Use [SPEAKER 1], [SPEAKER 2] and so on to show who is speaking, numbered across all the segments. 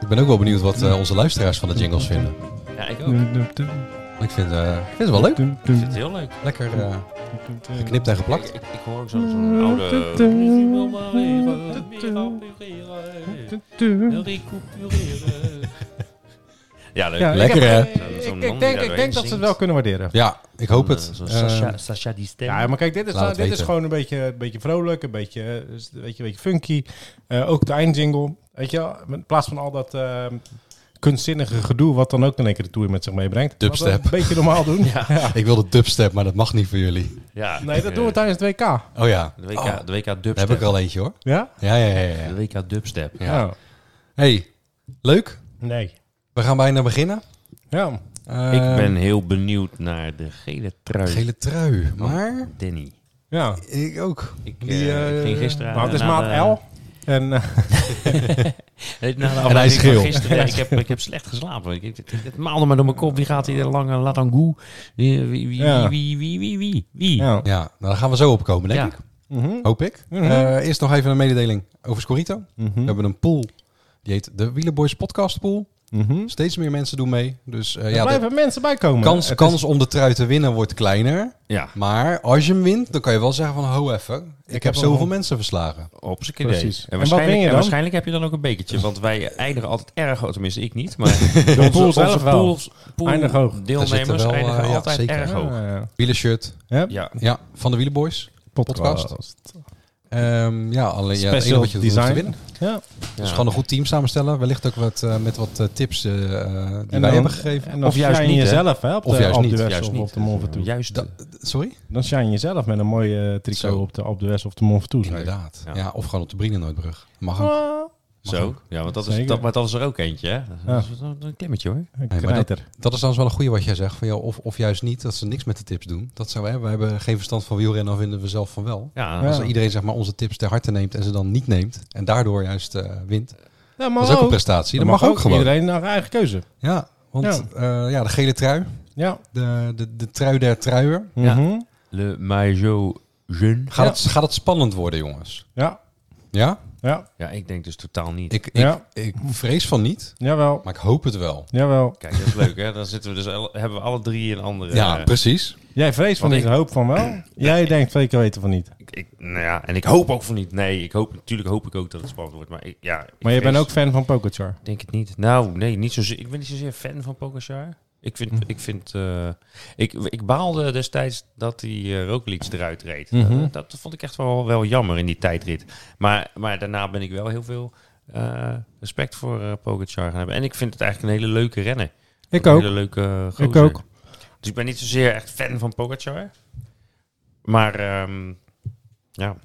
[SPEAKER 1] Ik ben ook wel benieuwd wat eh, onze luisteraars van de jingles vinden.
[SPEAKER 2] Ja, ik ook. Ik
[SPEAKER 1] Ik vind, eh, ik vind het wel leuk.
[SPEAKER 2] vind het heel leuk.
[SPEAKER 1] Lekker eh, geknipt en
[SPEAKER 2] Ik,
[SPEAKER 1] geplakt.
[SPEAKER 2] ik, ik hoor ook zo'n zo'n oude... Ruzie wil maar reren, meer appareren, wil recupereren. Ja, leuk.
[SPEAKER 3] Ja,
[SPEAKER 1] Lekker,
[SPEAKER 3] ik heb-
[SPEAKER 1] hè?
[SPEAKER 2] Zo'n-
[SPEAKER 3] Ik,
[SPEAKER 2] zo'n
[SPEAKER 3] ik
[SPEAKER 2] non die
[SPEAKER 3] denk, ik
[SPEAKER 2] daarheen
[SPEAKER 3] denk dat ze het wel
[SPEAKER 2] zingt.
[SPEAKER 3] kunnen waarderen.
[SPEAKER 1] Ja, ik hoop het.
[SPEAKER 2] Zo'n
[SPEAKER 1] Eh,
[SPEAKER 2] Sasha, Sasha die stem.
[SPEAKER 3] Ja, maar kijk, dit is,
[SPEAKER 1] Laat het
[SPEAKER 3] dit is
[SPEAKER 1] weten.
[SPEAKER 3] gewoon een beetje, een beetje vrolijk, een beetje, eh, weet je, een beetje funky. Eh, ook de eindjingle. Weet je, wel, in plaats van al dat eh, kunstzinnige gedoe, wat dan ook in één keer de tour met zich meebrengt. Laten we
[SPEAKER 1] Dubstep.
[SPEAKER 3] Een beetje normaal doen.
[SPEAKER 2] Ja.
[SPEAKER 1] ik wilde dubstep, maar dat mag niet voor jullie.
[SPEAKER 2] Ja,
[SPEAKER 3] Nee, dat doen we
[SPEAKER 2] dan.
[SPEAKER 3] tijdens het WK.
[SPEAKER 1] Oh ja,
[SPEAKER 2] De WK,
[SPEAKER 1] Oh,
[SPEAKER 2] de WK
[SPEAKER 1] daar heb ik
[SPEAKER 2] dubstep.
[SPEAKER 1] er al eentje hoor.
[SPEAKER 3] Ja?
[SPEAKER 1] Ja, ja, ja. ja.
[SPEAKER 2] De WK dubstep.
[SPEAKER 1] Ja.
[SPEAKER 3] Oh,
[SPEAKER 1] Hey, leuk.
[SPEAKER 3] nee.
[SPEAKER 1] We gaan bijna beginnen.
[SPEAKER 3] Ja.
[SPEAKER 1] Eh,
[SPEAKER 2] Ik ben heel benieuwd naar de gele trui
[SPEAKER 1] Gele trui,
[SPEAKER 2] van
[SPEAKER 1] maar...
[SPEAKER 2] Danny.
[SPEAKER 3] ja.
[SPEAKER 1] Ik ook.
[SPEAKER 2] Ik,
[SPEAKER 1] Die,
[SPEAKER 2] eh,
[SPEAKER 1] eh,
[SPEAKER 2] ging gisteren...
[SPEAKER 3] Nou, het is
[SPEAKER 2] na de-
[SPEAKER 3] maat L. En eh,
[SPEAKER 2] Nee, na de
[SPEAKER 1] En hij is
[SPEAKER 2] aflevering van
[SPEAKER 1] geel.
[SPEAKER 2] Gisteren, ja, ik, heb, ik heb slecht geslapen. Ik, ik- het, het maalde maar door mijn kop. Wie gaat hier lange Latangoe? Wie, wie, wie,
[SPEAKER 3] Ja.
[SPEAKER 2] wie, wie, wie, wie, wie?
[SPEAKER 3] ja.
[SPEAKER 1] Ja, nou, daar gaan we zo opkomen, denk
[SPEAKER 2] Ja.
[SPEAKER 1] ik.
[SPEAKER 3] Mhm.
[SPEAKER 1] Hoop ik.
[SPEAKER 3] Mhm.
[SPEAKER 1] Eh, eerst nog even een mededeling over Scorito. We
[SPEAKER 3] Mhm.
[SPEAKER 1] hebben een pool. Die heet de Wielerboys Podcast Pool.
[SPEAKER 3] Mhm.
[SPEAKER 1] Steeds meer mensen doen mee. Dus eh,
[SPEAKER 3] Er
[SPEAKER 1] ja, de
[SPEAKER 3] blijven mensen bij komen.
[SPEAKER 1] kans,
[SPEAKER 3] Het is-
[SPEAKER 1] kans om de trui te winnen wordt kleiner.
[SPEAKER 2] Ja,
[SPEAKER 1] Maar als je hem wint, dan kan je wel zeggen van... Ho even, ik,
[SPEAKER 3] heb
[SPEAKER 1] heb
[SPEAKER 3] al-
[SPEAKER 1] zoveel mensen verslagen.
[SPEAKER 2] op zijn
[SPEAKER 3] Precies.
[SPEAKER 2] En
[SPEAKER 3] En wat
[SPEAKER 2] waarschijnlijk,
[SPEAKER 3] ben je
[SPEAKER 2] en
[SPEAKER 3] dan? Dus-
[SPEAKER 2] waarschijnlijk heb je dan ook een bekertje. Want wij eindigen altijd erg hoog. Tenminste, ik niet. Maar onze,
[SPEAKER 3] pool zelf wel.
[SPEAKER 2] pools- pool
[SPEAKER 3] Eindig hoog.
[SPEAKER 1] Daar zitten
[SPEAKER 2] deelnemers
[SPEAKER 1] wel,
[SPEAKER 2] eindigen
[SPEAKER 1] eh, ja,
[SPEAKER 2] altijd
[SPEAKER 1] zeker.
[SPEAKER 2] erg hoog.
[SPEAKER 3] Ja, ja, ja.
[SPEAKER 1] Wielershirt.
[SPEAKER 3] Ja.
[SPEAKER 2] Ja,
[SPEAKER 1] Ja, van de Wielerboys.
[SPEAKER 3] Podcast.
[SPEAKER 1] Ehm ja, alleen ja, het enige
[SPEAKER 3] Special
[SPEAKER 1] wat je doet om te
[SPEAKER 3] design.
[SPEAKER 1] winnen.
[SPEAKER 3] Ja.
[SPEAKER 1] Dus
[SPEAKER 2] Ja.
[SPEAKER 1] gewoon een goed team samenstellen. Wellicht ook wat, eh, met wat eh, tips eh, eh, die wij
[SPEAKER 3] dan-
[SPEAKER 1] hebben gegeven.
[SPEAKER 3] En dan of juist niet, jezelf, hè? Op
[SPEAKER 1] Of
[SPEAKER 3] de,
[SPEAKER 1] juist
[SPEAKER 3] op
[SPEAKER 1] niet,
[SPEAKER 3] de West
[SPEAKER 2] juist
[SPEAKER 3] of
[SPEAKER 2] niet.
[SPEAKER 3] op de Mont Ventoux.
[SPEAKER 2] Juist.
[SPEAKER 1] Da- Sorry?
[SPEAKER 3] Dan shine jezelf met een mooie eh, tricot
[SPEAKER 1] Zo.
[SPEAKER 3] op de, op de West of de Mont Ventoux. zeg.
[SPEAKER 1] Inderdaad. Ja.
[SPEAKER 2] Ja.
[SPEAKER 1] of gewoon op de Brienenoordbrug. Mag ook.
[SPEAKER 3] Ah,
[SPEAKER 1] Mag
[SPEAKER 2] zo.
[SPEAKER 1] ook.
[SPEAKER 2] Ja, want dat is,
[SPEAKER 3] Zeker.
[SPEAKER 2] dat, maar dat is er ook eentje. Hè? Dat is een een klimmetje hoor.
[SPEAKER 3] een
[SPEAKER 1] maar
[SPEAKER 3] knijter.
[SPEAKER 1] Dat is trouwens wel een goede wat jij zegt. Van, jou, of, of juist niet, dat ze niks met de tips doen. Dat zijn wij. We hebben geen verstand van wielrennen, dan vinden we zelf van wel.
[SPEAKER 2] Ja,
[SPEAKER 3] Ja.
[SPEAKER 1] Als iedereen zeg maar, onze tips ter harte neemt en ze dan niet neemt. En daardoor juist eh, wint.
[SPEAKER 3] Ja,
[SPEAKER 1] Dat
[SPEAKER 3] maar
[SPEAKER 1] is ook een prestatie. Dat, mag, ook gewoon.
[SPEAKER 3] Iedereen naar eigen keuze.
[SPEAKER 1] Ja, want eh, ja, de gele trui.
[SPEAKER 3] Ja. Mhm.
[SPEAKER 1] De, de, de trui der truier.
[SPEAKER 3] Ja.
[SPEAKER 2] Le Maillot Jeune.
[SPEAKER 1] Gaat,
[SPEAKER 3] Ja.
[SPEAKER 1] het, gaat het spannend worden, jongens?
[SPEAKER 3] ja.
[SPEAKER 1] Ja?
[SPEAKER 3] Ja.
[SPEAKER 2] Ja, ik denk dus totaal niet.
[SPEAKER 1] Ik, ik,
[SPEAKER 3] Ja.
[SPEAKER 1] ik vrees van niet,
[SPEAKER 3] Jawel.
[SPEAKER 1] maar ik hoop het wel.
[SPEAKER 3] Jawel.
[SPEAKER 2] Kijk, dat is leuk hè. Dan zitten we dus al- hebben we alle drie een andere.
[SPEAKER 1] Ja,
[SPEAKER 2] eh,
[SPEAKER 1] precies.
[SPEAKER 3] Jij vreest van
[SPEAKER 2] Want
[SPEAKER 3] niet, hoop van wel. Jij denkt twee keer weten van niet.
[SPEAKER 2] ik, ik- nou ja, en ik hoop ook van niet. Nee, ik hoop, natuurlijk hoop ik ook dat het spannend wordt. Maar, ik, ja, ik
[SPEAKER 3] Maar je
[SPEAKER 2] vrees-
[SPEAKER 3] bent ook fan van Pokerchar.
[SPEAKER 2] Ik denk het niet. Nou, nee, niet zozeer. Ik ben niet zozeer fan van Pogacar. Ik vind,
[SPEAKER 3] Mhm.
[SPEAKER 2] ik vind, eh, ik, ik baalde destijds dat die eh Roglic eruit reed.
[SPEAKER 3] Mhm.
[SPEAKER 2] Eh, dat vond ik echt wel, wel jammer in die tijdrit. Maar, maar daarna ben ik wel heel veel eh, respect voor eh Pogacar gaan hebben. En ik vind het eigenlijk een hele leuke renner.
[SPEAKER 3] Ik
[SPEAKER 2] Een
[SPEAKER 3] ook.
[SPEAKER 2] hele leuke eh, gozer.
[SPEAKER 3] Ik ook.
[SPEAKER 2] Dus ik ben niet zozeer echt fan van Pogacar. Maar ehm, ja,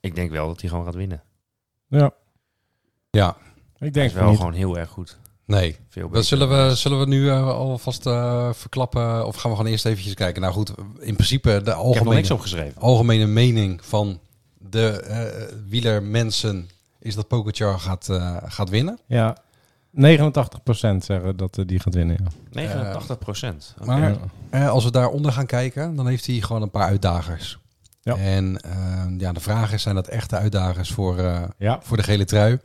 [SPEAKER 2] ik denk wel dat hij gewoon gaat winnen.
[SPEAKER 3] Ja.
[SPEAKER 1] Ja,
[SPEAKER 3] Ik
[SPEAKER 2] Hij
[SPEAKER 3] denk
[SPEAKER 2] is wel
[SPEAKER 3] van niet.
[SPEAKER 2] gewoon heel erg goed.
[SPEAKER 1] nee.
[SPEAKER 2] Veel
[SPEAKER 1] Dat
[SPEAKER 2] beter.
[SPEAKER 1] zullen, we, zullen we nu eh, alvast eh, verklappen? Of gaan we gewoon eerst eventjes kijken? Nou goed, in principe de
[SPEAKER 2] Ik heb er niks
[SPEAKER 1] algemene,
[SPEAKER 2] opgeschreven.
[SPEAKER 1] algemene mening van de eh wielermensen is dat Pogacar gaat, eh, gaat winnen.
[SPEAKER 3] Ja. 89% zeggen dat eh, die gaat winnen. ja.
[SPEAKER 2] 89 procent.
[SPEAKER 1] Maar
[SPEAKER 3] Ja.
[SPEAKER 1] eh, als we daaronder gaan kijken, dan heeft hij gewoon een paar uitdagers.
[SPEAKER 3] Ja.
[SPEAKER 1] En eh, ja, de vraag is, zijn dat echte uitdagers voor, eh,
[SPEAKER 3] Ja.
[SPEAKER 1] voor de gele trui?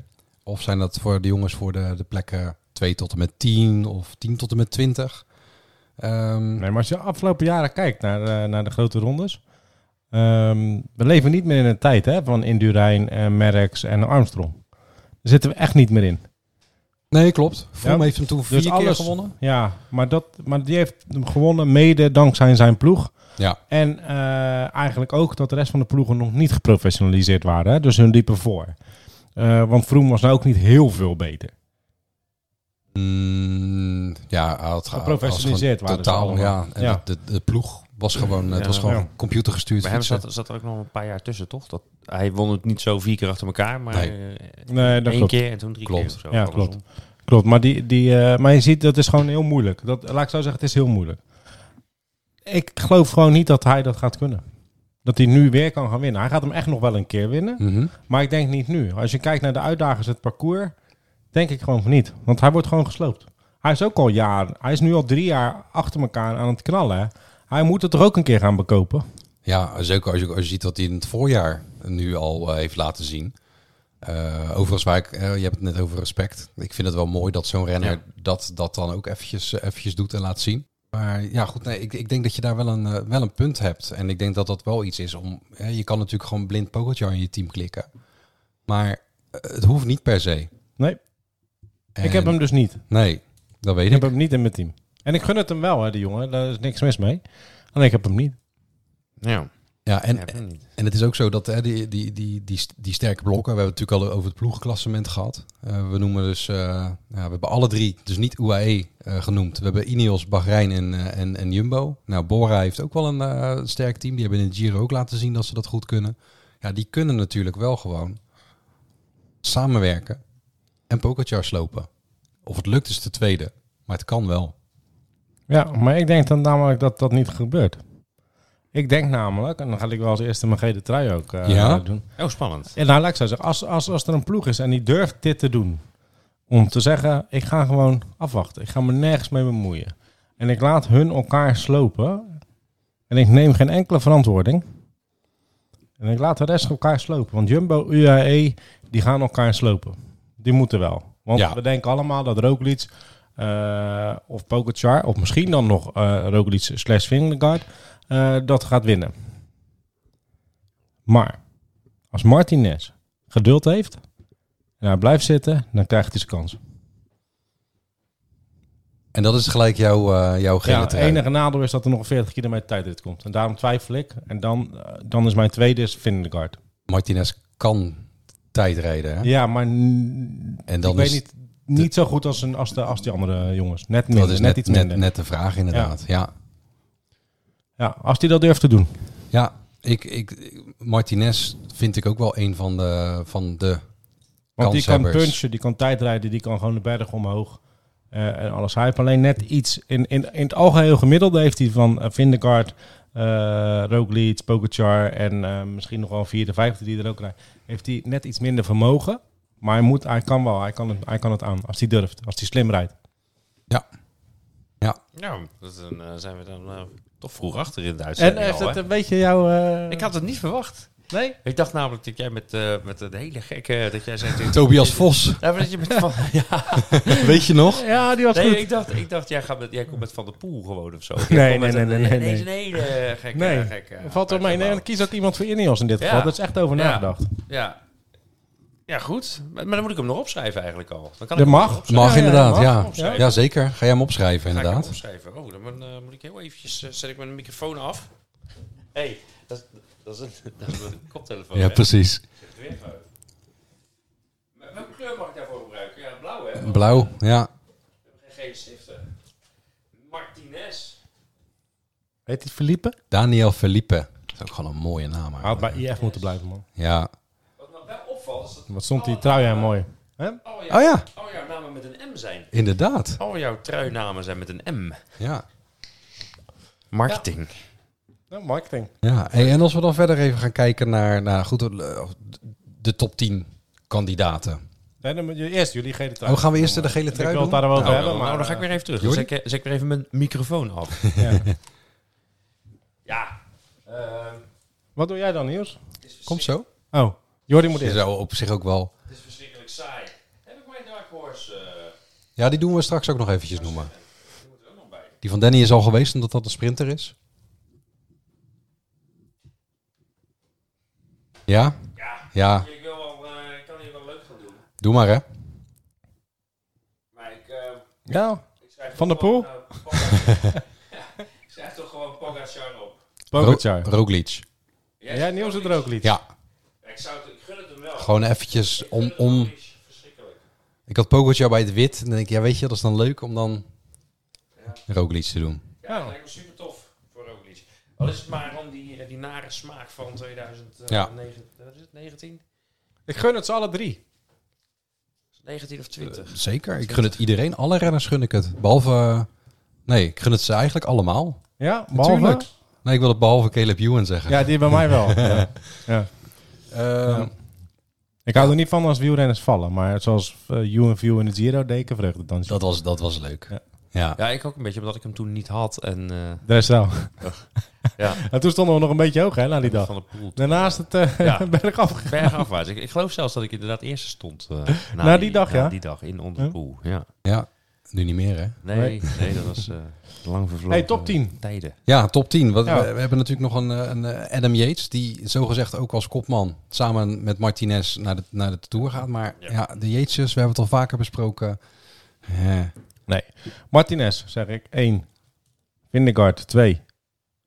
[SPEAKER 1] Of zijn dat voor de jongens voor de, de plekken 2 tot en met 10 of 10 tot en met 20? Ehm,
[SPEAKER 3] Nee, maar als je de afgelopen jaren kijkt naar, eh, naar de grote rondes. ehm, we leven niet meer in een tijd hè, van Indurain, en Merckx en Armstrong. Daar zitten we echt niet meer in.
[SPEAKER 1] Nee, klopt. Vroom
[SPEAKER 3] Ja. Dus
[SPEAKER 1] heeft hem toen vier keer
[SPEAKER 3] alles-
[SPEAKER 1] gewonnen.
[SPEAKER 3] Ja, maar, dat, maar die heeft hem gewonnen mede dankzij zijn ploeg.
[SPEAKER 1] Ja.
[SPEAKER 3] En eh, eigenlijk ook dat de rest van de ploegen nog niet geprofessionaliseerd waren. Hè? Dus hun diepe voor. Eh, want Vroom was nou ook niet heel veel beter.
[SPEAKER 1] Mm, ja, hij had
[SPEAKER 3] Geprofessionaliseerd
[SPEAKER 1] was gewoon
[SPEAKER 3] Mm, waren ze
[SPEAKER 1] Totaal,
[SPEAKER 3] allemaal.
[SPEAKER 1] ja. En
[SPEAKER 3] Ja.
[SPEAKER 1] De, de, de ploeg Was gewoon, het
[SPEAKER 2] Ja.
[SPEAKER 1] was gewoon
[SPEAKER 3] Ja.
[SPEAKER 1] computergestuurd
[SPEAKER 2] Bij hem
[SPEAKER 1] fietsen.
[SPEAKER 2] zat, zat er ook nog een paar jaar tussen, toch? Dat, hij won het niet zo vier keer achter elkaar, maar
[SPEAKER 1] Nee.
[SPEAKER 2] eh,
[SPEAKER 3] Nee, dat
[SPEAKER 2] één
[SPEAKER 3] klopt.
[SPEAKER 2] keer en toen drie
[SPEAKER 1] Klopt.
[SPEAKER 2] keer of zo.
[SPEAKER 3] Ja,
[SPEAKER 2] andersom.
[SPEAKER 3] klopt. Klopt, maar, die, die, eh, maar je ziet, dat is gewoon heel moeilijk. Dat, laat ik zo zeggen, het is heel moeilijk. Ik geloof gewoon niet dat hij dat gaat kunnen. Dat hij nu weer kan gaan winnen. Hij gaat hem echt nog wel een keer winnen.
[SPEAKER 1] Mhm.
[SPEAKER 3] Maar ik denk niet nu. Als je kijkt naar de uitdagers, het parcours, denk ik gewoon van niet. Want hij wordt gewoon gesloopt. Hij is ook al jaar, hij is nu al drie jaar achter elkaar aan het knallen. hè. Hij moet het er ook een keer gaan bekopen.
[SPEAKER 1] Ja, zeker als je, als je ziet wat hij in het voorjaar nu al eh, heeft laten zien. Eh, overigens, waar ik, eh, je hebt het net over respect. Ik vind het wel mooi dat zo'n renner
[SPEAKER 2] Ja.
[SPEAKER 1] dat, dat dan ook eventjes, eh, eventjes doet en laat zien. Maar ja, goed, nee, ik, ik denk dat je daar wel een, eh, wel een punt hebt. En ik denk dat dat wel iets is om... eh, je kan natuurlijk gewoon blind Pogacar in je team klikken. Maar eh, het hoeft niet per se.
[SPEAKER 3] Nee.
[SPEAKER 1] En-
[SPEAKER 3] Ik heb hem dus niet.
[SPEAKER 1] Nee, dat weet
[SPEAKER 3] Ik
[SPEAKER 1] ik.
[SPEAKER 3] heb hem niet in mijn team. En ik gun het hem wel, hè, de jongen. Daar is niks mis mee. Alleen ik heb hem niet.
[SPEAKER 2] Ja,
[SPEAKER 1] Ja, en,
[SPEAKER 2] heb hem niet.
[SPEAKER 1] En het is ook zo dat hè, die, die, die, die, die sterke blokken, we hebben het natuurlijk al over het ploegenklassement gehad. Eh, we noemen dus, eh, ja, we hebben alle drie, dus niet UAE eh, genoemd. We hebben Ineos, Bahrein en, eh, en, en Jumbo. Nou, Bora heeft ook wel een eh, sterk team. Die hebben in de Giro ook laten zien dat ze dat goed kunnen. Ja, die kunnen natuurlijk wel gewoon samenwerken en Pogacar slopen. Of het lukt is de tweede, maar het kan wel.
[SPEAKER 3] Ja, maar ik denk dan namelijk dat dat niet gebeurt. Ik denk namelijk, en dan ga ik wel als eerste mijn gele trui ook eh,
[SPEAKER 1] Ja?
[SPEAKER 3] doen.
[SPEAKER 2] Oh, spannend.
[SPEAKER 3] En nou, laat ik zo zeggen, als, als, als er een ploeg is en die durft dit te doen, om te zeggen, ik ga gewoon afwachten. Ik ga me nergens mee bemoeien. En ik laat hun elkaar slopen. En ik neem geen enkele verantwoording. En ik laat de rest elkaar slopen. Want Jumbo, UAE, die gaan elkaar slopen. Die moeten wel. Want
[SPEAKER 1] Ja.
[SPEAKER 3] we denken allemaal dat Roglic eh of Pogacar, of misschien dan nog eh Roglic slash Vingegaard, eh, dat gaat winnen. Maar als Martinez geduld heeft en hij blijft zitten, dan krijgt hij zijn kans.
[SPEAKER 1] En dat is gelijk jouw, eh jouw gele
[SPEAKER 3] Ja, het
[SPEAKER 1] trui.
[SPEAKER 3] enige nadeel is dat er nog een 40 kilometer tijdrit komt. En daarom twijfel ik. En dan, eh, dan is mijn tweede is Vindegaard.
[SPEAKER 1] Martinez kan tijdrijden. Hè?
[SPEAKER 3] Ja, maar n-
[SPEAKER 1] En dan
[SPEAKER 3] ik
[SPEAKER 1] is
[SPEAKER 3] weet niet, niet zo goed als, een, als, de, als die andere jongens. Net minder,
[SPEAKER 1] dat is
[SPEAKER 3] net,
[SPEAKER 1] net,
[SPEAKER 3] iets
[SPEAKER 1] net,
[SPEAKER 3] minder.
[SPEAKER 1] net de vraag, inderdaad. Ja,
[SPEAKER 3] Ja, als die dat durft te doen.
[SPEAKER 1] ja. ik, ik, Martinez vind ik ook wel een van de. Van de
[SPEAKER 3] Want die kan
[SPEAKER 1] Kanshebbers.
[SPEAKER 3] punchen, die kan tijdrijden, die kan gewoon de berg omhoog. eh, en alles. Hij heeft alleen net iets. In, in, in het algeheel gemiddelde heeft hij van eh, Vindegaard, eh Roglic, Pogacar en eh, misschien nog wel een vierde, vijfde die er ook rijdt. Heeft hij net iets minder vermogen. Maar hij, moet, hij kan wel, hij kan, het, hij kan het aan. Als hij durft, als hij slim rijdt.
[SPEAKER 2] Ja, dat, dan eh, zijn we dan eh, toch vroeg achter in de
[SPEAKER 3] En
[SPEAKER 2] uitzending
[SPEAKER 3] heeft
[SPEAKER 2] al,
[SPEAKER 3] het
[SPEAKER 2] hè?
[SPEAKER 3] een beetje jouw... eh,
[SPEAKER 2] Ik had het niet verwacht.
[SPEAKER 3] Nee?
[SPEAKER 2] Ik dacht namelijk dat jij met, eh met een hele gekke... Dat jij zei,
[SPEAKER 1] Tobias Vos,
[SPEAKER 2] Ja, maar dat je met van, ja,
[SPEAKER 1] weet je nog?
[SPEAKER 3] Ja, die was
[SPEAKER 2] nee,
[SPEAKER 3] goed.
[SPEAKER 2] ik dacht, ik dacht jij, gaat met, jij komt met Van der Poel gewoon of zo. Jij
[SPEAKER 3] Nee,
[SPEAKER 2] komt met
[SPEAKER 3] nee,
[SPEAKER 2] een- eh,
[SPEAKER 3] nee, nee, nee,
[SPEAKER 2] ineens een hele gekke...
[SPEAKER 3] Nee,
[SPEAKER 2] gekke
[SPEAKER 3] Valt wel mee. Nee, dan kies ook iemand voor Ineos in dit
[SPEAKER 2] eh, Ja.
[SPEAKER 3] geval. Dat is echt over
[SPEAKER 2] Ja.
[SPEAKER 3] nagedacht.
[SPEAKER 2] Ja. Ja, goed. Maar, maar dan moet ik hem nog opschrijven eigenlijk al. Dan kan
[SPEAKER 3] Dat
[SPEAKER 2] ik hem
[SPEAKER 3] mag.
[SPEAKER 2] nog opschrijven.
[SPEAKER 1] Mag
[SPEAKER 3] Ja, ja,
[SPEAKER 1] inderdaad,
[SPEAKER 3] mag.
[SPEAKER 1] ja. ja.
[SPEAKER 2] Opschrijven.
[SPEAKER 1] zeker. Ga jij hem opschrijven,
[SPEAKER 2] Ga ik hem
[SPEAKER 1] inderdaad.
[SPEAKER 2] opschrijven. Oh, dan eh, moet ik heel eventjes... eh, zet ik mijn microfoon af. Hé, hey, dat, is- dat, is een- dat is een koptelefoon.
[SPEAKER 1] Ja,
[SPEAKER 2] hè?
[SPEAKER 1] precies.
[SPEAKER 2] Zet het weer uit. Maar Welke kleur mag ik daarvoor gebruiken? Ja, blauw hè?
[SPEAKER 1] Blauw, ja.
[SPEAKER 2] We hebben geen gele stiften. Martinez.
[SPEAKER 3] Heet hij Felipe?
[SPEAKER 1] Daniel Felipe. Dat is ook gewoon een mooie naam.
[SPEAKER 3] Hij had bij
[SPEAKER 1] eigenlijk.
[SPEAKER 3] IF moeten blijven, man.
[SPEAKER 1] Ja.
[SPEAKER 2] Wat me wel opvalt is dat...
[SPEAKER 3] Wat stond die trui aan mooi. Hè?
[SPEAKER 2] Al
[SPEAKER 1] Oh ja,
[SPEAKER 2] al jouw namen met een M zijn.
[SPEAKER 1] inderdaad.
[SPEAKER 2] Al jouw truinamen zijn met een M.
[SPEAKER 1] Ja.
[SPEAKER 2] Marketing.
[SPEAKER 3] Ja, Nou, marketing.
[SPEAKER 1] Ja, hey, en als we dan verder even gaan kijken naar, naar goed, eh, de top 10 kandidaten.
[SPEAKER 3] Nee, dan moet je eerst jullie gele trui.
[SPEAKER 1] Oh, gaan we eerst de gele
[SPEAKER 3] Ik wil
[SPEAKER 1] trui
[SPEAKER 3] het
[SPEAKER 1] doen?
[SPEAKER 3] daar wel over
[SPEAKER 2] nou,
[SPEAKER 3] hebben, maar... eh,
[SPEAKER 2] dan ga ik weer even terug. Dan
[SPEAKER 1] eh, Jordi?
[SPEAKER 2] zet ik, eh, zet ik weer even mijn microfoon af.
[SPEAKER 3] ja.
[SPEAKER 2] ja. eh,
[SPEAKER 3] Wat doe jij dan, Niels?
[SPEAKER 2] het, is
[SPEAKER 1] Komt
[SPEAKER 2] verschrik-
[SPEAKER 1] zo.
[SPEAKER 3] Oh, Jordi moet
[SPEAKER 1] Is
[SPEAKER 3] eerst.
[SPEAKER 1] zou op zich ook wel
[SPEAKER 2] het is verschrikkelijk saai. Heb ik mijn Dark Horse? eh,
[SPEAKER 1] Ja, die doen we straks ook nog eventjes noemen. Die van Danny is al geweest omdat dat een sprinter is. Ja?
[SPEAKER 2] ja,
[SPEAKER 1] Ja,
[SPEAKER 2] ik wil wel, eh, ik kan hier wel leuk gaan doen.
[SPEAKER 1] doe maar hè.
[SPEAKER 2] Maar ik, eh,
[SPEAKER 3] Ja,
[SPEAKER 2] ik schrijf
[SPEAKER 3] Van der
[SPEAKER 2] toch
[SPEAKER 3] Poel?
[SPEAKER 2] gewoon, eh, Pogacar. Ja, ik schrijf toch gewoon Pogacar op.
[SPEAKER 3] Pogacar.
[SPEAKER 1] Ro- Roglic.
[SPEAKER 2] Jij
[SPEAKER 3] Jij Niels het er ook
[SPEAKER 1] Oh.
[SPEAKER 3] liet.
[SPEAKER 1] Ja,
[SPEAKER 2] Ik, zou het, ik gun het hem wel.
[SPEAKER 1] gewoon eventjes
[SPEAKER 2] Ik gun
[SPEAKER 1] om...
[SPEAKER 2] het
[SPEAKER 1] om...
[SPEAKER 2] Roglic Verschrikkelijk.
[SPEAKER 1] Ik had Pogacar bij het wit. En dan denk ik, ja weet je, dat is dan leuk om dan
[SPEAKER 2] Ja.
[SPEAKER 1] Roglic te doen.
[SPEAKER 2] Ja, dat
[SPEAKER 3] Oh.
[SPEAKER 2] lijkt me super tof voor Roglic.
[SPEAKER 4] Al is het maar om die, eh, die nare smaak van 2019.
[SPEAKER 2] eh,
[SPEAKER 1] Ja.
[SPEAKER 4] Wat is het? 19?
[SPEAKER 2] Ik gun het ze alle drie.
[SPEAKER 4] 19 of 20.
[SPEAKER 1] Zeker, ik gun het iedereen. Alle renners gun ik het. Behalve... eh, Nee, ik gun het ze eigenlijk allemaal.
[SPEAKER 3] Ja, behalve...
[SPEAKER 1] Natuurlijk. Nee, ik wil het behalve Caleb Ewan zeggen.
[SPEAKER 3] Ja, die bij mij wel. Ja.
[SPEAKER 1] Ehm,
[SPEAKER 3] Ik hou er niet van als wielrenners vallen, maar zoals eh UNView in het Giro deed ik een vreugdedansje.
[SPEAKER 1] dat, was, dat was leuk.
[SPEAKER 3] Ja.
[SPEAKER 1] Ja.
[SPEAKER 2] Ja, ik ook een beetje, omdat ik hem toen niet had. En eh,
[SPEAKER 3] Daar is wel.
[SPEAKER 2] Ja.
[SPEAKER 3] En toen stonden we nog een beetje hoog, hè, na die dag.
[SPEAKER 2] van de poel.
[SPEAKER 3] Daarnaast het eh
[SPEAKER 2] Ja.
[SPEAKER 3] bergaf gegaan.
[SPEAKER 2] Bergafwaarts. Ik, ik geloof zelfs dat ik inderdaad eerste stond. eh, na,
[SPEAKER 3] Na die dag,
[SPEAKER 2] na
[SPEAKER 3] ja?
[SPEAKER 2] die dag in
[SPEAKER 3] Ja.
[SPEAKER 2] onze poel. Ja.
[SPEAKER 1] ja, nu niet meer hè.
[SPEAKER 2] Nee,
[SPEAKER 3] Nee.
[SPEAKER 2] nee. dat was eh, lang vervlogen.
[SPEAKER 3] Hey, top 10.
[SPEAKER 2] Tijden.
[SPEAKER 1] Ja, top 10. Wat,
[SPEAKER 3] Ja.
[SPEAKER 1] we, we hebben natuurlijk nog een, eh, een eh, Adam Yates, die zogezegd ook als kopman samen met Martinez naar de, naar de Tour gaat. Maar ja,
[SPEAKER 2] Ja.
[SPEAKER 1] de Yates'jes, we hebben het al vaker besproken. Eh,
[SPEAKER 3] Martinez, zeg ik, 1. Vindegaard, 2.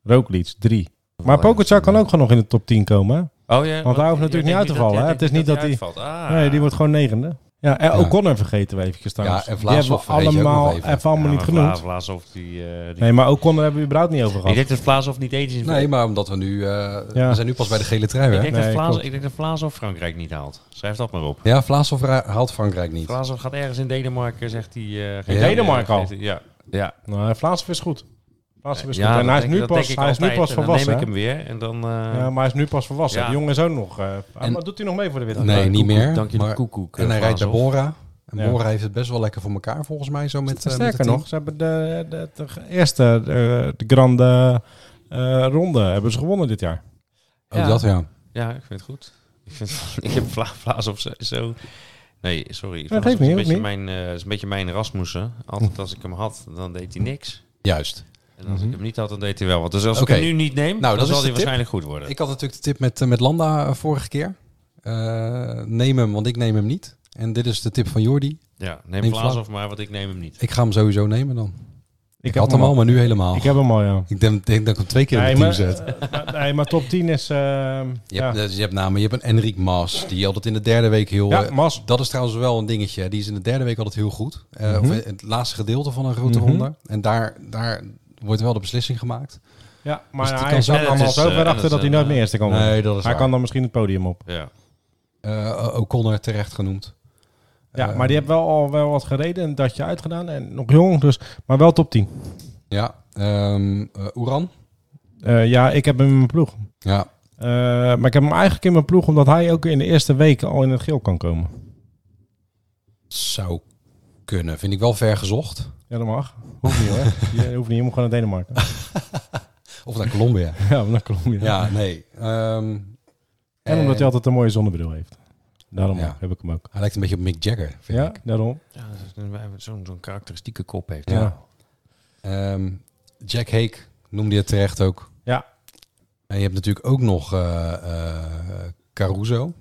[SPEAKER 3] Roglic, 3. Maar Pogacar kan ook gewoon nog in de top 10 komen. hè?
[SPEAKER 2] Oh, ja,
[SPEAKER 3] Want hij hoeft
[SPEAKER 2] je
[SPEAKER 3] natuurlijk
[SPEAKER 2] denkt
[SPEAKER 3] niet uit te
[SPEAKER 2] dat-
[SPEAKER 3] vallen,
[SPEAKER 2] jij
[SPEAKER 3] hè?
[SPEAKER 2] denkt
[SPEAKER 3] Het is niet dat hij-
[SPEAKER 2] uitvalt. Ah.
[SPEAKER 3] Nee, die wordt gewoon negende. Ja, en
[SPEAKER 1] Ja.
[SPEAKER 3] O'Connor vergeten we eventjes trouwens.
[SPEAKER 1] Ja, en
[SPEAKER 3] die hebben we
[SPEAKER 1] Vlaashoff vergeet je ook
[SPEAKER 3] allemaal
[SPEAKER 1] nog
[SPEAKER 3] even,
[SPEAKER 1] even.
[SPEAKER 3] allemaal
[SPEAKER 2] Ja,
[SPEAKER 3] niet
[SPEAKER 2] maar
[SPEAKER 3] genoemd.
[SPEAKER 2] Vla- Vlaashoff die... eh, die-
[SPEAKER 3] Nee, maar O'Connor hebben we überhaupt niet over
[SPEAKER 2] Ik
[SPEAKER 3] gehad.
[SPEAKER 2] denk dat Vlaashoff niet eens is.
[SPEAKER 1] nee, maar omdat we nu... eh, We zijn nu pas bij de gele trui
[SPEAKER 2] ik
[SPEAKER 1] hè.
[SPEAKER 2] denk, dat
[SPEAKER 3] Nee,
[SPEAKER 2] Vlaas,
[SPEAKER 3] klopt.
[SPEAKER 2] ik denk dat Vlaashoff Frankrijk niet haalt. Schrijf dat maar op.
[SPEAKER 1] Ja, Vlaashoff ra- haalt Frankrijk niet.
[SPEAKER 2] Vlaashoff gaat ergens in Denemarken, zegt hij. eh, geen-
[SPEAKER 1] In
[SPEAKER 3] Denemarken
[SPEAKER 2] eh,
[SPEAKER 3] al?
[SPEAKER 2] geeft- Ja. Ja,
[SPEAKER 3] Nou, Vlaashoff is goed. Vlaashoff is
[SPEAKER 2] Ja,
[SPEAKER 3] goed.
[SPEAKER 2] dat
[SPEAKER 3] En hij is
[SPEAKER 2] denk-
[SPEAKER 3] nu
[SPEAKER 2] dat
[SPEAKER 3] pas,
[SPEAKER 2] denk ik
[SPEAKER 3] hij is nu
[SPEAKER 2] altijd.
[SPEAKER 3] pas
[SPEAKER 2] En dan
[SPEAKER 3] volwassen.
[SPEAKER 2] neem
[SPEAKER 3] hè?
[SPEAKER 2] ik hem weer en dan... eh,
[SPEAKER 3] Ja, maar hij is nu pas volwassen.
[SPEAKER 2] Ja.
[SPEAKER 3] Die jongen is ook nog. eh,
[SPEAKER 1] En-
[SPEAKER 3] maar doet hij nog mee voor de witte?
[SPEAKER 1] Nee,
[SPEAKER 2] Dank je
[SPEAKER 1] niet meer.
[SPEAKER 2] Dank je
[SPEAKER 1] maar-
[SPEAKER 2] de koekoek. eh,
[SPEAKER 1] En hij rijdt bij
[SPEAKER 2] naar
[SPEAKER 1] Bora. En
[SPEAKER 3] Ja.
[SPEAKER 1] Bora heeft het best wel lekker voor elkaar volgens mij zo met, eh, met
[SPEAKER 3] Sterker
[SPEAKER 1] het team.
[SPEAKER 3] nog, ze hebben de, de, de eerste, de, de grande eh, ronde, hebben ze gewonnen dit jaar.
[SPEAKER 1] Ook dat ja.
[SPEAKER 2] Ja, ik vind het goed. Ik, vind, ik heb Vla, Vlaas of zo, zo. Nee, sorry.
[SPEAKER 3] Ja,
[SPEAKER 2] Vlaas
[SPEAKER 3] geeft
[SPEAKER 2] is
[SPEAKER 3] niet,
[SPEAKER 2] een beetje
[SPEAKER 3] hoeft
[SPEAKER 2] mijn, eh, is een beetje mijn Rasmussen. Altijd als ik hem had, dan deed hij niks.
[SPEAKER 1] Juist.
[SPEAKER 2] En als
[SPEAKER 3] Mhm.
[SPEAKER 2] ik hem niet had, dan deed hij wel wat. Dus als
[SPEAKER 1] Oké.
[SPEAKER 2] ik hem nu niet neem,
[SPEAKER 1] Nou, dat
[SPEAKER 2] dan
[SPEAKER 1] is
[SPEAKER 2] zal
[SPEAKER 1] de
[SPEAKER 2] hij
[SPEAKER 1] tip.
[SPEAKER 2] waarschijnlijk goed worden.
[SPEAKER 1] Ik had natuurlijk de tip met, eh, met Landa eh, vorige keer. Eh, neem hem, want ik neem hem niet. En dit is de tip van Jordi.
[SPEAKER 2] ja, neem,
[SPEAKER 1] neem
[SPEAKER 2] Vlaas
[SPEAKER 1] Vla-
[SPEAKER 2] of maar, want ik neem hem niet.
[SPEAKER 1] Ik ga hem sowieso nemen dan.
[SPEAKER 3] Ik,
[SPEAKER 1] had hem al, maar nu helemaal.
[SPEAKER 3] Ik heb hem al, ja.
[SPEAKER 1] Ik denk, denk dat ik hem twee keer
[SPEAKER 3] Nee,
[SPEAKER 1] in het
[SPEAKER 3] maar,
[SPEAKER 1] team zet.
[SPEAKER 3] eh, nee, maar top 10 is... ehm,
[SPEAKER 1] Je hebt,
[SPEAKER 3] ja.
[SPEAKER 1] eh, je hebt namen, je hebt een Enric Mas, die altijd in de derde week heel...
[SPEAKER 3] ja,
[SPEAKER 1] eh,
[SPEAKER 3] Mas.
[SPEAKER 1] dat is trouwens wel een dingetje. hè. Die is in de derde week altijd heel goed. Eh,
[SPEAKER 3] Mhm.
[SPEAKER 1] Of het laatste gedeelte van een grote
[SPEAKER 3] Mhm.
[SPEAKER 1] ronde. En daar, daar wordt wel de beslissing gemaakt.
[SPEAKER 3] Ja, maar
[SPEAKER 1] Dus die
[SPEAKER 3] hij
[SPEAKER 1] kan
[SPEAKER 3] is
[SPEAKER 2] zijn.
[SPEAKER 3] ook allemaal
[SPEAKER 2] Het is,
[SPEAKER 3] zo
[SPEAKER 2] eh,
[SPEAKER 3] ver
[SPEAKER 2] het
[SPEAKER 3] achter
[SPEAKER 2] is
[SPEAKER 3] dat hij
[SPEAKER 2] een,
[SPEAKER 3] nooit meer
[SPEAKER 2] eh,
[SPEAKER 3] eerste kan worden.
[SPEAKER 1] Nee, dat is
[SPEAKER 3] hij
[SPEAKER 1] waar.
[SPEAKER 3] kan dan misschien het podium op.
[SPEAKER 2] Ja.
[SPEAKER 1] Eh, O'Connor terecht genoemd.
[SPEAKER 3] Ja,
[SPEAKER 1] Eh,
[SPEAKER 3] maar die heeft wel al wel wat gereden en dat je uitgedaan. En nog jong, dus, maar wel top 10.
[SPEAKER 1] Ja, ehm eh, Oeran.
[SPEAKER 3] Eh, ja, ik heb hem in mijn ploeg.
[SPEAKER 1] Ja,
[SPEAKER 3] Eh, maar ik heb hem eigenlijk in mijn ploeg omdat hij ook in de eerste week al in het geel kan komen.
[SPEAKER 1] zou kunnen. Vind ik wel ver gezocht.
[SPEAKER 3] Ja, dat mag. Hoeft niet hoor. Je hoeft niet, je moet gewoon naar Denemarken.
[SPEAKER 1] Of naar Colombia.
[SPEAKER 3] ja, maar naar Colombia.
[SPEAKER 1] ja, nee. Ehm,
[SPEAKER 3] En omdat hij altijd een mooie zonnebril heeft. Daarom
[SPEAKER 1] Ja.
[SPEAKER 3] heb ik hem ook.
[SPEAKER 1] Hij lijkt een beetje op Mick Jagger, vind
[SPEAKER 3] ja,
[SPEAKER 1] ik.
[SPEAKER 3] daarom.
[SPEAKER 2] Ja, dat is een- Zo'n zo'n karakteristieke kop heeft.
[SPEAKER 3] Ja.
[SPEAKER 2] hij.
[SPEAKER 3] Ja.
[SPEAKER 1] Ehm, Jack Hake noemde je terecht ook.
[SPEAKER 3] Ja.
[SPEAKER 1] En je hebt natuurlijk ook nog eh, eh, Caruso.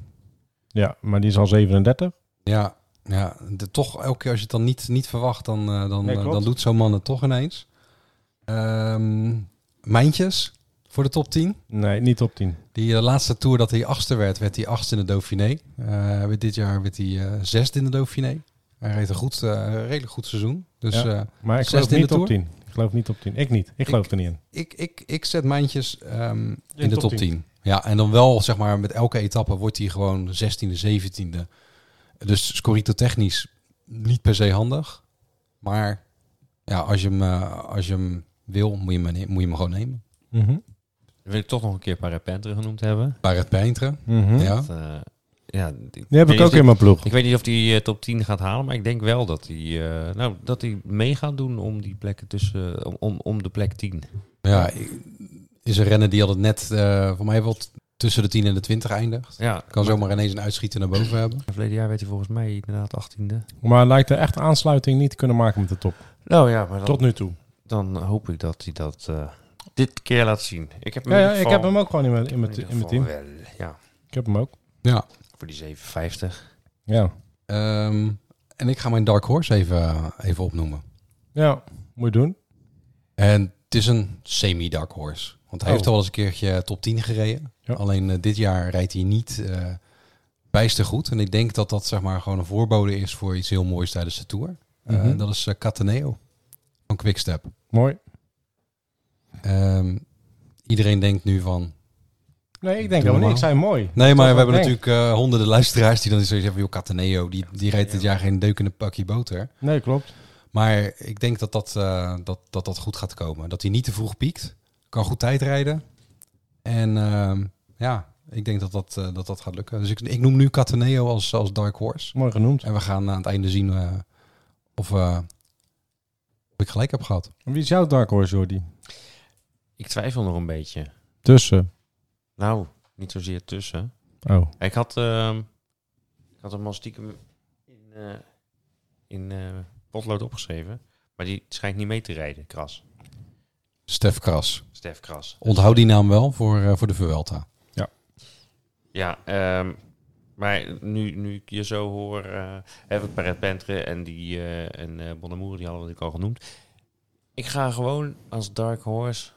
[SPEAKER 3] maar die is al 37.
[SPEAKER 1] Ja, ja de, toch elke keer als je het dan niet, niet verwacht, dan, eh, dan,
[SPEAKER 3] Nee,
[SPEAKER 1] eh,
[SPEAKER 3] klopt.
[SPEAKER 1] dan doet zo'n man het toch ineens. Ehm Mijntjes voor de top 10.
[SPEAKER 3] Nee, niet top 10.
[SPEAKER 1] Die eh, laatste tour dat hij achtste werd, werd hij achtste in de Dauphiné. Eh, werd dit jaar werd hij eh, zesde in de Dauphiné. Hij reed een goed, eh, een redelijk goed seizoen. Dus
[SPEAKER 3] Ja.
[SPEAKER 1] eh,
[SPEAKER 3] Maar ik
[SPEAKER 1] Zesde
[SPEAKER 3] geloof
[SPEAKER 1] in
[SPEAKER 3] niet
[SPEAKER 1] de
[SPEAKER 3] top 10. Ik geloof niet top 10. Ik niet. Ik geloof
[SPEAKER 1] Ik-
[SPEAKER 3] er niet in.
[SPEAKER 1] ik, ik, ik zet Mijntjes ehm, in de top 10. Ja, en dan wel, zeg maar, met elke etappe wordt hij gewoon 16e, 17e. Dus scorito technisch niet per se handig. Maar ja, als je hem, eh, als je hem wil, moet je hem, ne- moet je hem gewoon nemen.
[SPEAKER 3] Mhm.
[SPEAKER 2] Dan wil ik toch nog een keer Parapenter genoemd hebben.
[SPEAKER 1] Bij het Pijntre.
[SPEAKER 3] Mhm.
[SPEAKER 1] Ja.
[SPEAKER 2] Dat, eh, ja, die
[SPEAKER 3] Die heb ik ook in mijn ploeg.
[SPEAKER 2] Ik weet niet of hij eh, top 10 gaat halen, maar ik denk wel dat hij, eh, nou, dat hij mee gaat doen om die plekken tussen, eh, om- om, om de plek 10.
[SPEAKER 1] ja, is een renner die altijd net, eh voor mij wel t- tussen de 10 en de 20 eindigt.
[SPEAKER 2] Ja,
[SPEAKER 1] Kan zomaar ineens een uitschieter naar boven hebben.
[SPEAKER 2] Verleden jaar werd hij volgens mij inderdaad 18e.
[SPEAKER 3] Maar hij lijkt er echt aansluiting niet te kunnen maken met de top.
[SPEAKER 2] Nou ja, maar dan,
[SPEAKER 3] Tot nu toe.
[SPEAKER 2] dan hoop ik dat hij dat eh, dit keer laat zien. Ik heb hem,
[SPEAKER 3] Ja,
[SPEAKER 2] in
[SPEAKER 3] ja,
[SPEAKER 2] ieder
[SPEAKER 3] ik heb
[SPEAKER 2] geval-
[SPEAKER 3] hem ook gewoon in mijn, in mijn,
[SPEAKER 2] in ieder
[SPEAKER 3] in mijn
[SPEAKER 2] geval
[SPEAKER 3] team.
[SPEAKER 2] wel, ja,
[SPEAKER 3] Ik heb hem ook.
[SPEAKER 1] Ja.
[SPEAKER 2] voor die 57.
[SPEAKER 3] Ja.
[SPEAKER 1] Ehm, en ik ga mijn Dark Horse even, eh, even opnoemen.
[SPEAKER 3] Ja, moet je doen.
[SPEAKER 1] En het is een semi-dark horse. Want hij
[SPEAKER 3] Oh.
[SPEAKER 1] heeft al eens een keertje eh, top 10 gereden.
[SPEAKER 3] Ja.
[SPEAKER 1] Alleen eh, dit jaar rijdt hij niet eh bijster goed. En ik denk dat dat zeg maar gewoon een voorbode is voor iets heel moois tijdens de Tour. Eh,
[SPEAKER 3] Mhm.
[SPEAKER 1] en dat is eh, Cataneo van Quickstep.
[SPEAKER 3] Mooi.
[SPEAKER 1] Ehm Iedereen denkt nu van...
[SPEAKER 3] Nee, ik denk helemaal niet. Ik zei mooi.
[SPEAKER 1] Nee, maar
[SPEAKER 3] Toch
[SPEAKER 1] we hebben
[SPEAKER 3] denk.
[SPEAKER 1] natuurlijk eh, honderden luisteraars die dan zoiets hebben... joh, Cataneo, die, die reed dit jaar geen deuk in een pakje boter.
[SPEAKER 3] Nee, klopt.
[SPEAKER 1] Maar ik denk dat dat, eh, dat, dat dat goed gaat komen. Dat hij niet te vroeg piekt. Kan goed tijd rijden. En ehm, ja, ik denk dat dat, eh, dat, dat gaat lukken. Dus ik, ik noem nu Cataneo als, als Dark Horse.
[SPEAKER 3] Mooi genoemd.
[SPEAKER 1] En we gaan aan het einde zien eh, of, eh, of ik gelijk heb gehad.
[SPEAKER 3] Wie is jouw Dark Horse, Jordi?
[SPEAKER 2] Ik twijfel nog een beetje.
[SPEAKER 3] Tussen.
[SPEAKER 2] Nou, niet zozeer tussen.
[SPEAKER 3] Oh.
[SPEAKER 2] Ik had, ehm, ik had hem al stiekem in, eh, in eh, potlood opgeschreven. Maar die schijnt niet mee te rijden, Kras.
[SPEAKER 1] Stef Kras.
[SPEAKER 2] Stef Kras.
[SPEAKER 1] Onthoud die naam wel voor, eh, voor de Vuelta.
[SPEAKER 2] Ja, ehm, maar nu, nu ik je zo hoor, eh even Paret Pentre en, die, eh, en eh Bonnemoer, die hadden we natuurlijk al genoemd. Ik ga gewoon als Dark Horse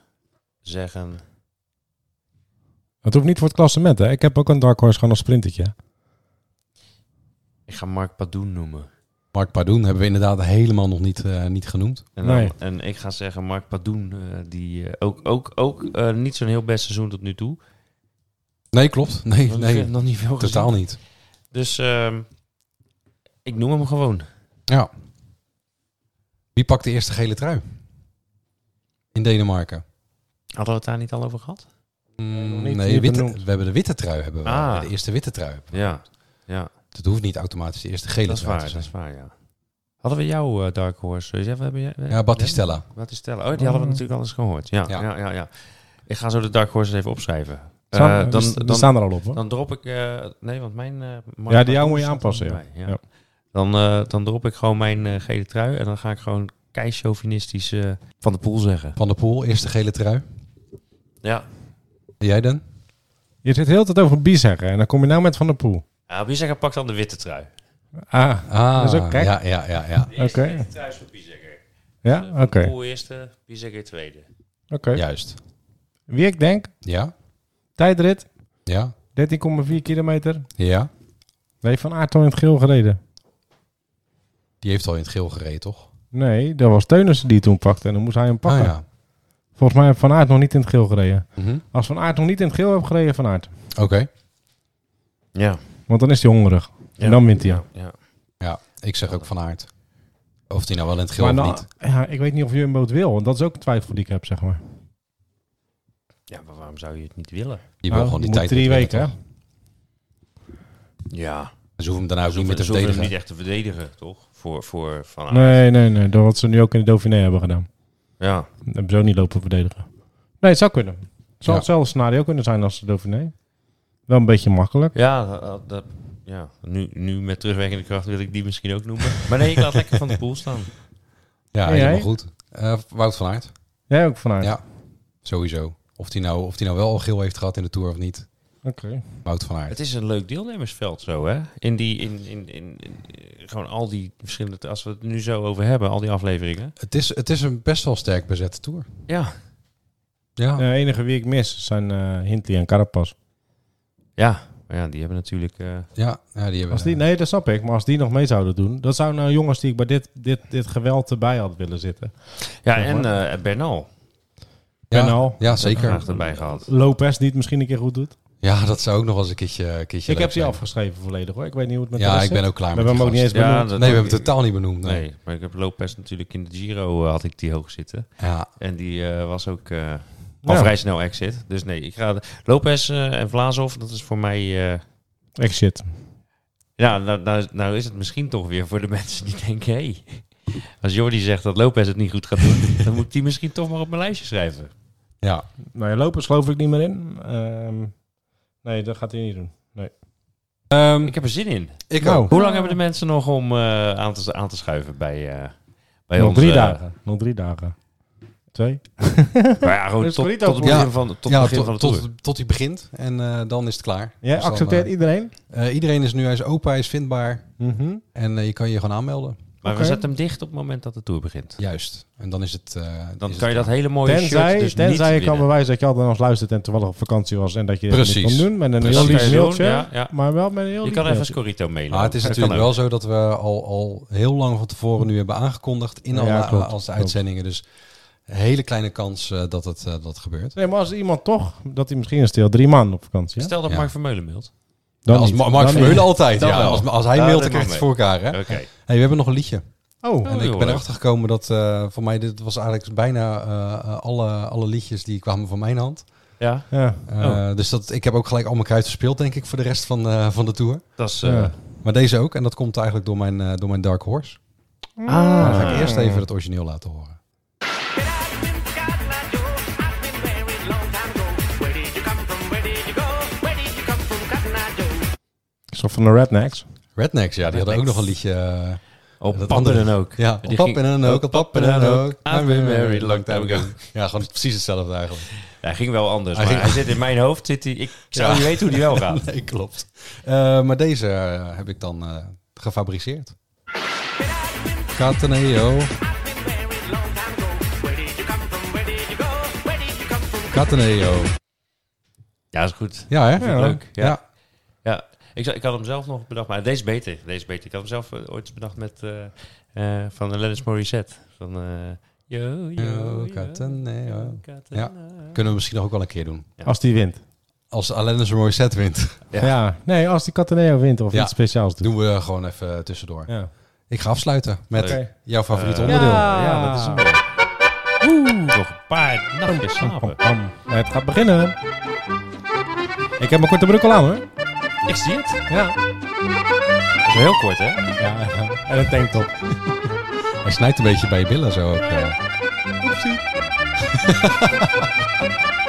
[SPEAKER 2] zeggen...
[SPEAKER 3] Het hoeft niet voor het klassement, hè? Ik heb ook een Dark Horse gewoon als sprintertje.
[SPEAKER 2] Ik ga Mark Padoen noemen.
[SPEAKER 1] Mark Pardoen hebben we inderdaad helemaal nog niet, eh, niet genoemd.
[SPEAKER 2] En, dan-
[SPEAKER 3] Nee.
[SPEAKER 2] en ik ga zeggen, Mark Padoen, eh, die eh, ook, ook, ook eh, niet zo'n heel best seizoen tot nu toe.
[SPEAKER 1] Nee, klopt. Nee,
[SPEAKER 2] Want ik heb
[SPEAKER 1] nee
[SPEAKER 2] nog niet veel gezien.
[SPEAKER 1] totaal niet.
[SPEAKER 2] Dus ehm, ik noem hem gewoon.
[SPEAKER 1] Ja. Wie pakt de eerste gele trui? In Denemarken.
[SPEAKER 2] Hadden we het daar niet al over gehad?
[SPEAKER 3] nog
[SPEAKER 1] Mm,
[SPEAKER 3] niet-
[SPEAKER 1] nee,
[SPEAKER 3] niet
[SPEAKER 1] witte,
[SPEAKER 3] benoemd.
[SPEAKER 1] we hebben de witte trui. Hebben we.
[SPEAKER 2] Ah.
[SPEAKER 1] De eerste witte trui.
[SPEAKER 2] Ja, ja
[SPEAKER 1] Dat hoeft niet automatisch de eerste gele
[SPEAKER 2] dat is
[SPEAKER 1] trui
[SPEAKER 2] waar.
[SPEAKER 1] te
[SPEAKER 2] Dat
[SPEAKER 1] zijn.
[SPEAKER 2] is waar, ja. Hadden we jouw eh, Dark Horse? eh, Jeff, hebben jij-
[SPEAKER 1] Ja, Battistella.
[SPEAKER 2] Battistella. Oh, die hadden we
[SPEAKER 3] Mm.
[SPEAKER 2] natuurlijk al eens gehoord. Ja,
[SPEAKER 1] Ja.
[SPEAKER 2] ja. Ja, ja, Ik ga zo de Dark Horses even opschrijven.
[SPEAKER 3] Staan-
[SPEAKER 2] Eh,
[SPEAKER 3] we
[SPEAKER 2] dan,
[SPEAKER 3] st- we
[SPEAKER 2] dan,
[SPEAKER 3] staan er al op, hoor.
[SPEAKER 2] dan drop ik... eh, nee, want mijn... eh, Mark
[SPEAKER 3] Ja, die
[SPEAKER 2] Padoen
[SPEAKER 3] jou moet je
[SPEAKER 2] staat
[SPEAKER 3] aanpassen,
[SPEAKER 2] er
[SPEAKER 3] ja.
[SPEAKER 2] niet bij,
[SPEAKER 3] Ja.
[SPEAKER 2] Dan, eh, dan drop ik gewoon mijn eh, gele trui. En dan ga ik gewoon keichauvinistisch eh, van de poel zeggen.
[SPEAKER 1] Van der Poel, eerste gele trui.
[SPEAKER 2] Ja.
[SPEAKER 1] En jij dan?
[SPEAKER 3] Je zit heel de tijd over zeggen en dan kom je nou met Van der Poel.
[SPEAKER 2] ja Biezekker pakt dan de witte trui.
[SPEAKER 3] Ah,
[SPEAKER 1] Ah,
[SPEAKER 3] Dat is ook gek.
[SPEAKER 1] ja, ja, ja, ja.
[SPEAKER 2] De eerste
[SPEAKER 3] Oké.
[SPEAKER 2] witte trui is voor Biezekker.
[SPEAKER 3] ja? Oké.
[SPEAKER 2] Poel eerste, Biezekker tweede.
[SPEAKER 3] Oké.
[SPEAKER 1] Juist.
[SPEAKER 3] Wie ik denk,
[SPEAKER 1] Ja,
[SPEAKER 3] tijdrit, 13,4
[SPEAKER 1] ja,
[SPEAKER 3] kilometer.
[SPEAKER 1] ja.
[SPEAKER 3] Nee, Van Aert al in het geel gereden.
[SPEAKER 1] Die heeft al in het geel gereden, toch?
[SPEAKER 3] Nee, dat was Teunissen die het toen pakte en dan moest hij hem pakken.
[SPEAKER 1] Ah, ja.
[SPEAKER 3] Volgens mij heeft Van Aert nog niet in het geel gereden.
[SPEAKER 1] Mhm.
[SPEAKER 3] Als Van Aert nog niet in het geel heeft gereden, Van Aert.
[SPEAKER 1] Oké.
[SPEAKER 2] Ja.
[SPEAKER 3] Want dan is hij hongerig. En dan wint hij. Ja.
[SPEAKER 2] Ja.
[SPEAKER 1] Ja, ik zeg ook van aard. Of die nou wel in het geel
[SPEAKER 3] Maar
[SPEAKER 1] of
[SPEAKER 3] dan,
[SPEAKER 1] niet.
[SPEAKER 3] ja, ik weet niet of Jumbo het wil, want dat is ook een twijfel die ik heb, zeg maar.
[SPEAKER 2] ja, maar waarom zou je het niet willen?
[SPEAKER 1] Die wil
[SPEAKER 3] Nou,
[SPEAKER 1] gewoon die
[SPEAKER 3] moet
[SPEAKER 1] tijd
[SPEAKER 3] drie
[SPEAKER 1] niet winnen,
[SPEAKER 3] weken, hè?
[SPEAKER 1] toch?
[SPEAKER 2] Ja.
[SPEAKER 1] Ze hoeven hem daarna ook
[SPEAKER 2] Ze
[SPEAKER 1] niet
[SPEAKER 2] hoeven
[SPEAKER 1] meer te
[SPEAKER 2] ze hoeven hem
[SPEAKER 1] verdedigen.
[SPEAKER 2] niet echt te verdedigen, toch? Voor, voor Van Aert.
[SPEAKER 3] Nee, nee, nee. Dat wat ze nu ook in de Dauphiné hebben gedaan.
[SPEAKER 2] Ja.
[SPEAKER 3] Dat hebben ze ook niet lopen verdedigen. Nee, het zou kunnen. Het zou
[SPEAKER 1] Ja.
[SPEAKER 3] hetzelfde scenario kunnen zijn als de Dauphiné. Wel een beetje makkelijk.
[SPEAKER 2] Ja, dat- dat, dat- ja. Nu, nu met terugwerkende kracht wil ik die misschien ook noemen. Maar nee, ik laat lekker van de poel staan.
[SPEAKER 1] Ja,
[SPEAKER 3] Nee,
[SPEAKER 1] helemaal
[SPEAKER 3] jij?
[SPEAKER 1] goed. Eh, Wout van Aert,
[SPEAKER 3] Jij ook vanuit.
[SPEAKER 1] Ja. sowieso. Of die, nou, of die nou wel al geel heeft gehad in de Tour of niet.
[SPEAKER 3] Oké.
[SPEAKER 1] Wout van Aert.
[SPEAKER 2] Het is een leuk deelnemersveld zo, hè? In die, in, in, in, in- gewoon al die verschillende, als we het nu zo over hebben, al die afleveringen.
[SPEAKER 1] Het is, het is een best wel sterk bezette Tour.
[SPEAKER 2] Ja.
[SPEAKER 1] Ja,
[SPEAKER 3] De Eh, enige wie ik mis zijn eh Hindley en Carapaz.
[SPEAKER 2] Ja. Maar ja, die hebben natuurlijk... eh,
[SPEAKER 1] ja, ja die hebben...
[SPEAKER 3] Als die, nee, dat snap ik. Maar als die nog mee zouden doen... Dat zouden nou jongens die ik bij dit, dit, dit geweld erbij had willen zitten.
[SPEAKER 2] Ja,
[SPEAKER 3] Ja,
[SPEAKER 2] en
[SPEAKER 3] hoor.
[SPEAKER 2] eh, Bernal.
[SPEAKER 1] ja,
[SPEAKER 3] Bernal.
[SPEAKER 1] eh, Ja, zeker.
[SPEAKER 2] Graag erbij gehad.
[SPEAKER 3] Lopez die het misschien een keer goed doet.
[SPEAKER 1] Ja, dat zou ook nog eens een keertje, een keertje
[SPEAKER 3] ik
[SPEAKER 1] leuk
[SPEAKER 3] heb die
[SPEAKER 1] zijn.
[SPEAKER 3] afgeschreven volledig hoor. Ik weet niet hoe het met de
[SPEAKER 1] Ja,
[SPEAKER 3] rest
[SPEAKER 1] ik ben
[SPEAKER 3] zit.
[SPEAKER 1] ook klaar
[SPEAKER 3] We
[SPEAKER 1] met
[SPEAKER 3] hebben hem ook
[SPEAKER 1] die
[SPEAKER 3] niet eens
[SPEAKER 1] gasten.
[SPEAKER 3] benoemd.
[SPEAKER 2] dat-
[SPEAKER 1] Nee, we hebben het totaal niet benoemd. Nee.
[SPEAKER 2] Nee, maar ik heb Lopez natuurlijk in de Giro eh, had ik die hoog zitten.
[SPEAKER 1] Ja,
[SPEAKER 2] En die eh, was ook eh, al
[SPEAKER 3] Ja.
[SPEAKER 2] vrij snel exit. Dus nee, ik ga... Lopez eh, en Vlaashoff, dat is voor mij... eh,
[SPEAKER 3] Echt shit.
[SPEAKER 2] Ja, nou, nou, nou is het misschien toch weer voor de mensen die denken... Hé, als Jordi zegt dat Lopez het niet goed gaat doen... dan moet ik die misschien toch maar op mijn lijstje schrijven.
[SPEAKER 1] ja.
[SPEAKER 3] Nou ja, Lopez geloof ik niet meer in. Ehm, nee, dat gaat hij niet doen.
[SPEAKER 1] Ehm,
[SPEAKER 2] Ik heb er zin in.
[SPEAKER 1] ik
[SPEAKER 3] Nou,
[SPEAKER 1] ook.
[SPEAKER 2] Hoe lang hebben de mensen nog om eh, aan, te, aan te schuiven bij, eh bij
[SPEAKER 3] nog
[SPEAKER 2] ons?
[SPEAKER 3] drie
[SPEAKER 2] eh,
[SPEAKER 3] dagen. Nog drie dagen. Twee.
[SPEAKER 2] Nou ja, gewoon
[SPEAKER 3] Dus
[SPEAKER 2] tot,
[SPEAKER 3] Brito
[SPEAKER 2] tot het
[SPEAKER 3] voor-
[SPEAKER 2] begin van, tot
[SPEAKER 1] ja,
[SPEAKER 2] het begin
[SPEAKER 1] tot,
[SPEAKER 2] van de tour.
[SPEAKER 1] tot, tot hij begint en eh, dan is het klaar.
[SPEAKER 3] Jij
[SPEAKER 1] Dus dan,
[SPEAKER 3] accepteert
[SPEAKER 1] eh,
[SPEAKER 3] iedereen?
[SPEAKER 1] eh, iedereen is nu, hij is open, hij is vindbaar
[SPEAKER 3] Mhm.
[SPEAKER 1] en eh, je kan je gewoon aanmelden.
[SPEAKER 2] Maar
[SPEAKER 3] Oké.
[SPEAKER 2] we zetten hem dicht op het moment dat de tour begint.
[SPEAKER 1] Juist. En dan is het... eh,
[SPEAKER 2] Dan
[SPEAKER 1] is
[SPEAKER 2] kan je
[SPEAKER 1] het-
[SPEAKER 2] dat hele mooie
[SPEAKER 3] Tenzij,
[SPEAKER 2] shirt dus
[SPEAKER 3] tenzij je
[SPEAKER 2] niet
[SPEAKER 3] kan
[SPEAKER 2] winnen.
[SPEAKER 3] bewijzen dat je altijd nog luistert en toevallig op vakantie was en dat je dat niet
[SPEAKER 1] Precies.
[SPEAKER 3] kon doen. Met een
[SPEAKER 1] Precies.
[SPEAKER 3] heel lief
[SPEAKER 2] Kan je doen,
[SPEAKER 3] mailtje,
[SPEAKER 2] ja, ja.
[SPEAKER 3] maar wel met een heel
[SPEAKER 2] Je
[SPEAKER 3] lief
[SPEAKER 2] kan even
[SPEAKER 3] mailtje.
[SPEAKER 2] Scorito mailen.
[SPEAKER 1] Maar het is
[SPEAKER 2] Dat
[SPEAKER 1] natuurlijk
[SPEAKER 2] kan
[SPEAKER 1] wel
[SPEAKER 2] ook.
[SPEAKER 1] zo dat we al, al heel lang van tevoren nu hebben aangekondigd in
[SPEAKER 3] Ja,
[SPEAKER 1] alle
[SPEAKER 3] klopt,
[SPEAKER 1] als
[SPEAKER 3] klopt.
[SPEAKER 1] uitzendingen. Dus Hele kleine kans eh, dat het eh, dat gebeurt.
[SPEAKER 3] Nee, maar als iemand toch, dat hij misschien is deel drie maanden op vakantie. hè?
[SPEAKER 2] Stel dat
[SPEAKER 1] Ja.
[SPEAKER 2] Mark Vermeulen mailt.
[SPEAKER 3] Dan
[SPEAKER 1] Ja, als
[SPEAKER 3] niet.
[SPEAKER 1] Ma- Mark
[SPEAKER 3] Dan
[SPEAKER 1] Vermeulen
[SPEAKER 3] niet.
[SPEAKER 1] altijd.
[SPEAKER 2] Dan
[SPEAKER 1] Ja,
[SPEAKER 2] wel.
[SPEAKER 1] als, als hij
[SPEAKER 2] Ja,
[SPEAKER 1] mailt,
[SPEAKER 2] dat
[SPEAKER 1] dan krijgt
[SPEAKER 2] mag
[SPEAKER 1] het voor elkaar. Hè?
[SPEAKER 2] Oké.
[SPEAKER 1] Hey, we hebben nog een liedje.
[SPEAKER 3] Oh,
[SPEAKER 2] Oh,
[SPEAKER 1] En ik
[SPEAKER 2] joh,
[SPEAKER 1] ben
[SPEAKER 2] hè.
[SPEAKER 1] erachter gekomen dat eh, voor mij, dit was eigenlijk bijna eh, eh, alle, alle liedjes die kwamen van mijn hand.
[SPEAKER 2] Ja,
[SPEAKER 3] ja.
[SPEAKER 1] Eh,
[SPEAKER 2] Oh.
[SPEAKER 1] Dus dat, ik heb ook gelijk al mijn kruid verspeeld, denk ik, voor de rest van, eh, van de tour.
[SPEAKER 2] dat is... eh,
[SPEAKER 3] Ja.
[SPEAKER 1] Maar deze ook, en dat komt eigenlijk door mijn, eh, door mijn Dark Horse.
[SPEAKER 2] Ah.
[SPEAKER 1] Maar dan ga ik eerst even het origineel laten horen.
[SPEAKER 3] Zo van de rednecks.
[SPEAKER 1] Rednecks, ja, die hadden ook
[SPEAKER 2] Rednecks.
[SPEAKER 1] nog een liedje. eh,
[SPEAKER 2] Oh,
[SPEAKER 1] Dat
[SPEAKER 2] pap
[SPEAKER 1] andere-
[SPEAKER 2] en dan ook.
[SPEAKER 1] ja,
[SPEAKER 2] Die
[SPEAKER 1] op pap
[SPEAKER 2] ging-
[SPEAKER 1] en dan ook, op pap en dan ook.
[SPEAKER 2] I've been married long time ago.
[SPEAKER 1] Ja, gewoon precies hetzelfde eigenlijk.
[SPEAKER 2] Hij ging wel anders,
[SPEAKER 1] Hij
[SPEAKER 2] maar
[SPEAKER 1] ging-
[SPEAKER 2] hij zit in mijn hoofd. Zit hij, ik zou
[SPEAKER 1] Ja.
[SPEAKER 2] niet weten hoe die wel gaat.
[SPEAKER 1] Nee, klopt. Eh, maar deze eh, heb ik dan eh, gefabriceerd. Cataneo. Cataneo.
[SPEAKER 2] Ja, is goed.
[SPEAKER 1] Ja, hè?
[SPEAKER 2] Vind ik
[SPEAKER 3] Ja.
[SPEAKER 2] leuk. Ja. ja.
[SPEAKER 1] Ja.
[SPEAKER 2] Ik, zou- ik had hem zelf nog bedacht, maar deze is beter. Deze is beter. Ik had hem zelf eh, ooit bedacht met eh, eh, van de Lennis Morissette. Van eh yo, yo,
[SPEAKER 1] Yo,
[SPEAKER 2] yo,
[SPEAKER 1] Cataneo.
[SPEAKER 2] Catena.
[SPEAKER 1] Kunnen we misschien nog ook wel een keer doen.
[SPEAKER 2] Ja.
[SPEAKER 3] Als die wint.
[SPEAKER 1] Als dus Alanis Morissette wint,
[SPEAKER 2] Ja.
[SPEAKER 3] Ja. Nee, als die Cataneo wint of
[SPEAKER 1] Ja.
[SPEAKER 3] iets speciaals doet.
[SPEAKER 1] doen we gewoon even tussendoor.
[SPEAKER 3] Ja.
[SPEAKER 1] Ik ga afsluiten met
[SPEAKER 3] Oké.
[SPEAKER 1] jouw favoriet
[SPEAKER 2] Eh,
[SPEAKER 1] onderdeel.
[SPEAKER 3] Ja.
[SPEAKER 2] Ja, dat is hem weer. Nog een paar nachtjes slapen.
[SPEAKER 3] Maar het gaat beginnen. Ik heb mijn korte broek al aan hoor.
[SPEAKER 2] Ik zie het.
[SPEAKER 3] Ja.
[SPEAKER 2] Dat is heel kort, hè?
[SPEAKER 3] ja. En een tanktop.
[SPEAKER 1] Hij snijdt een beetje bij je billen zo ook. eh.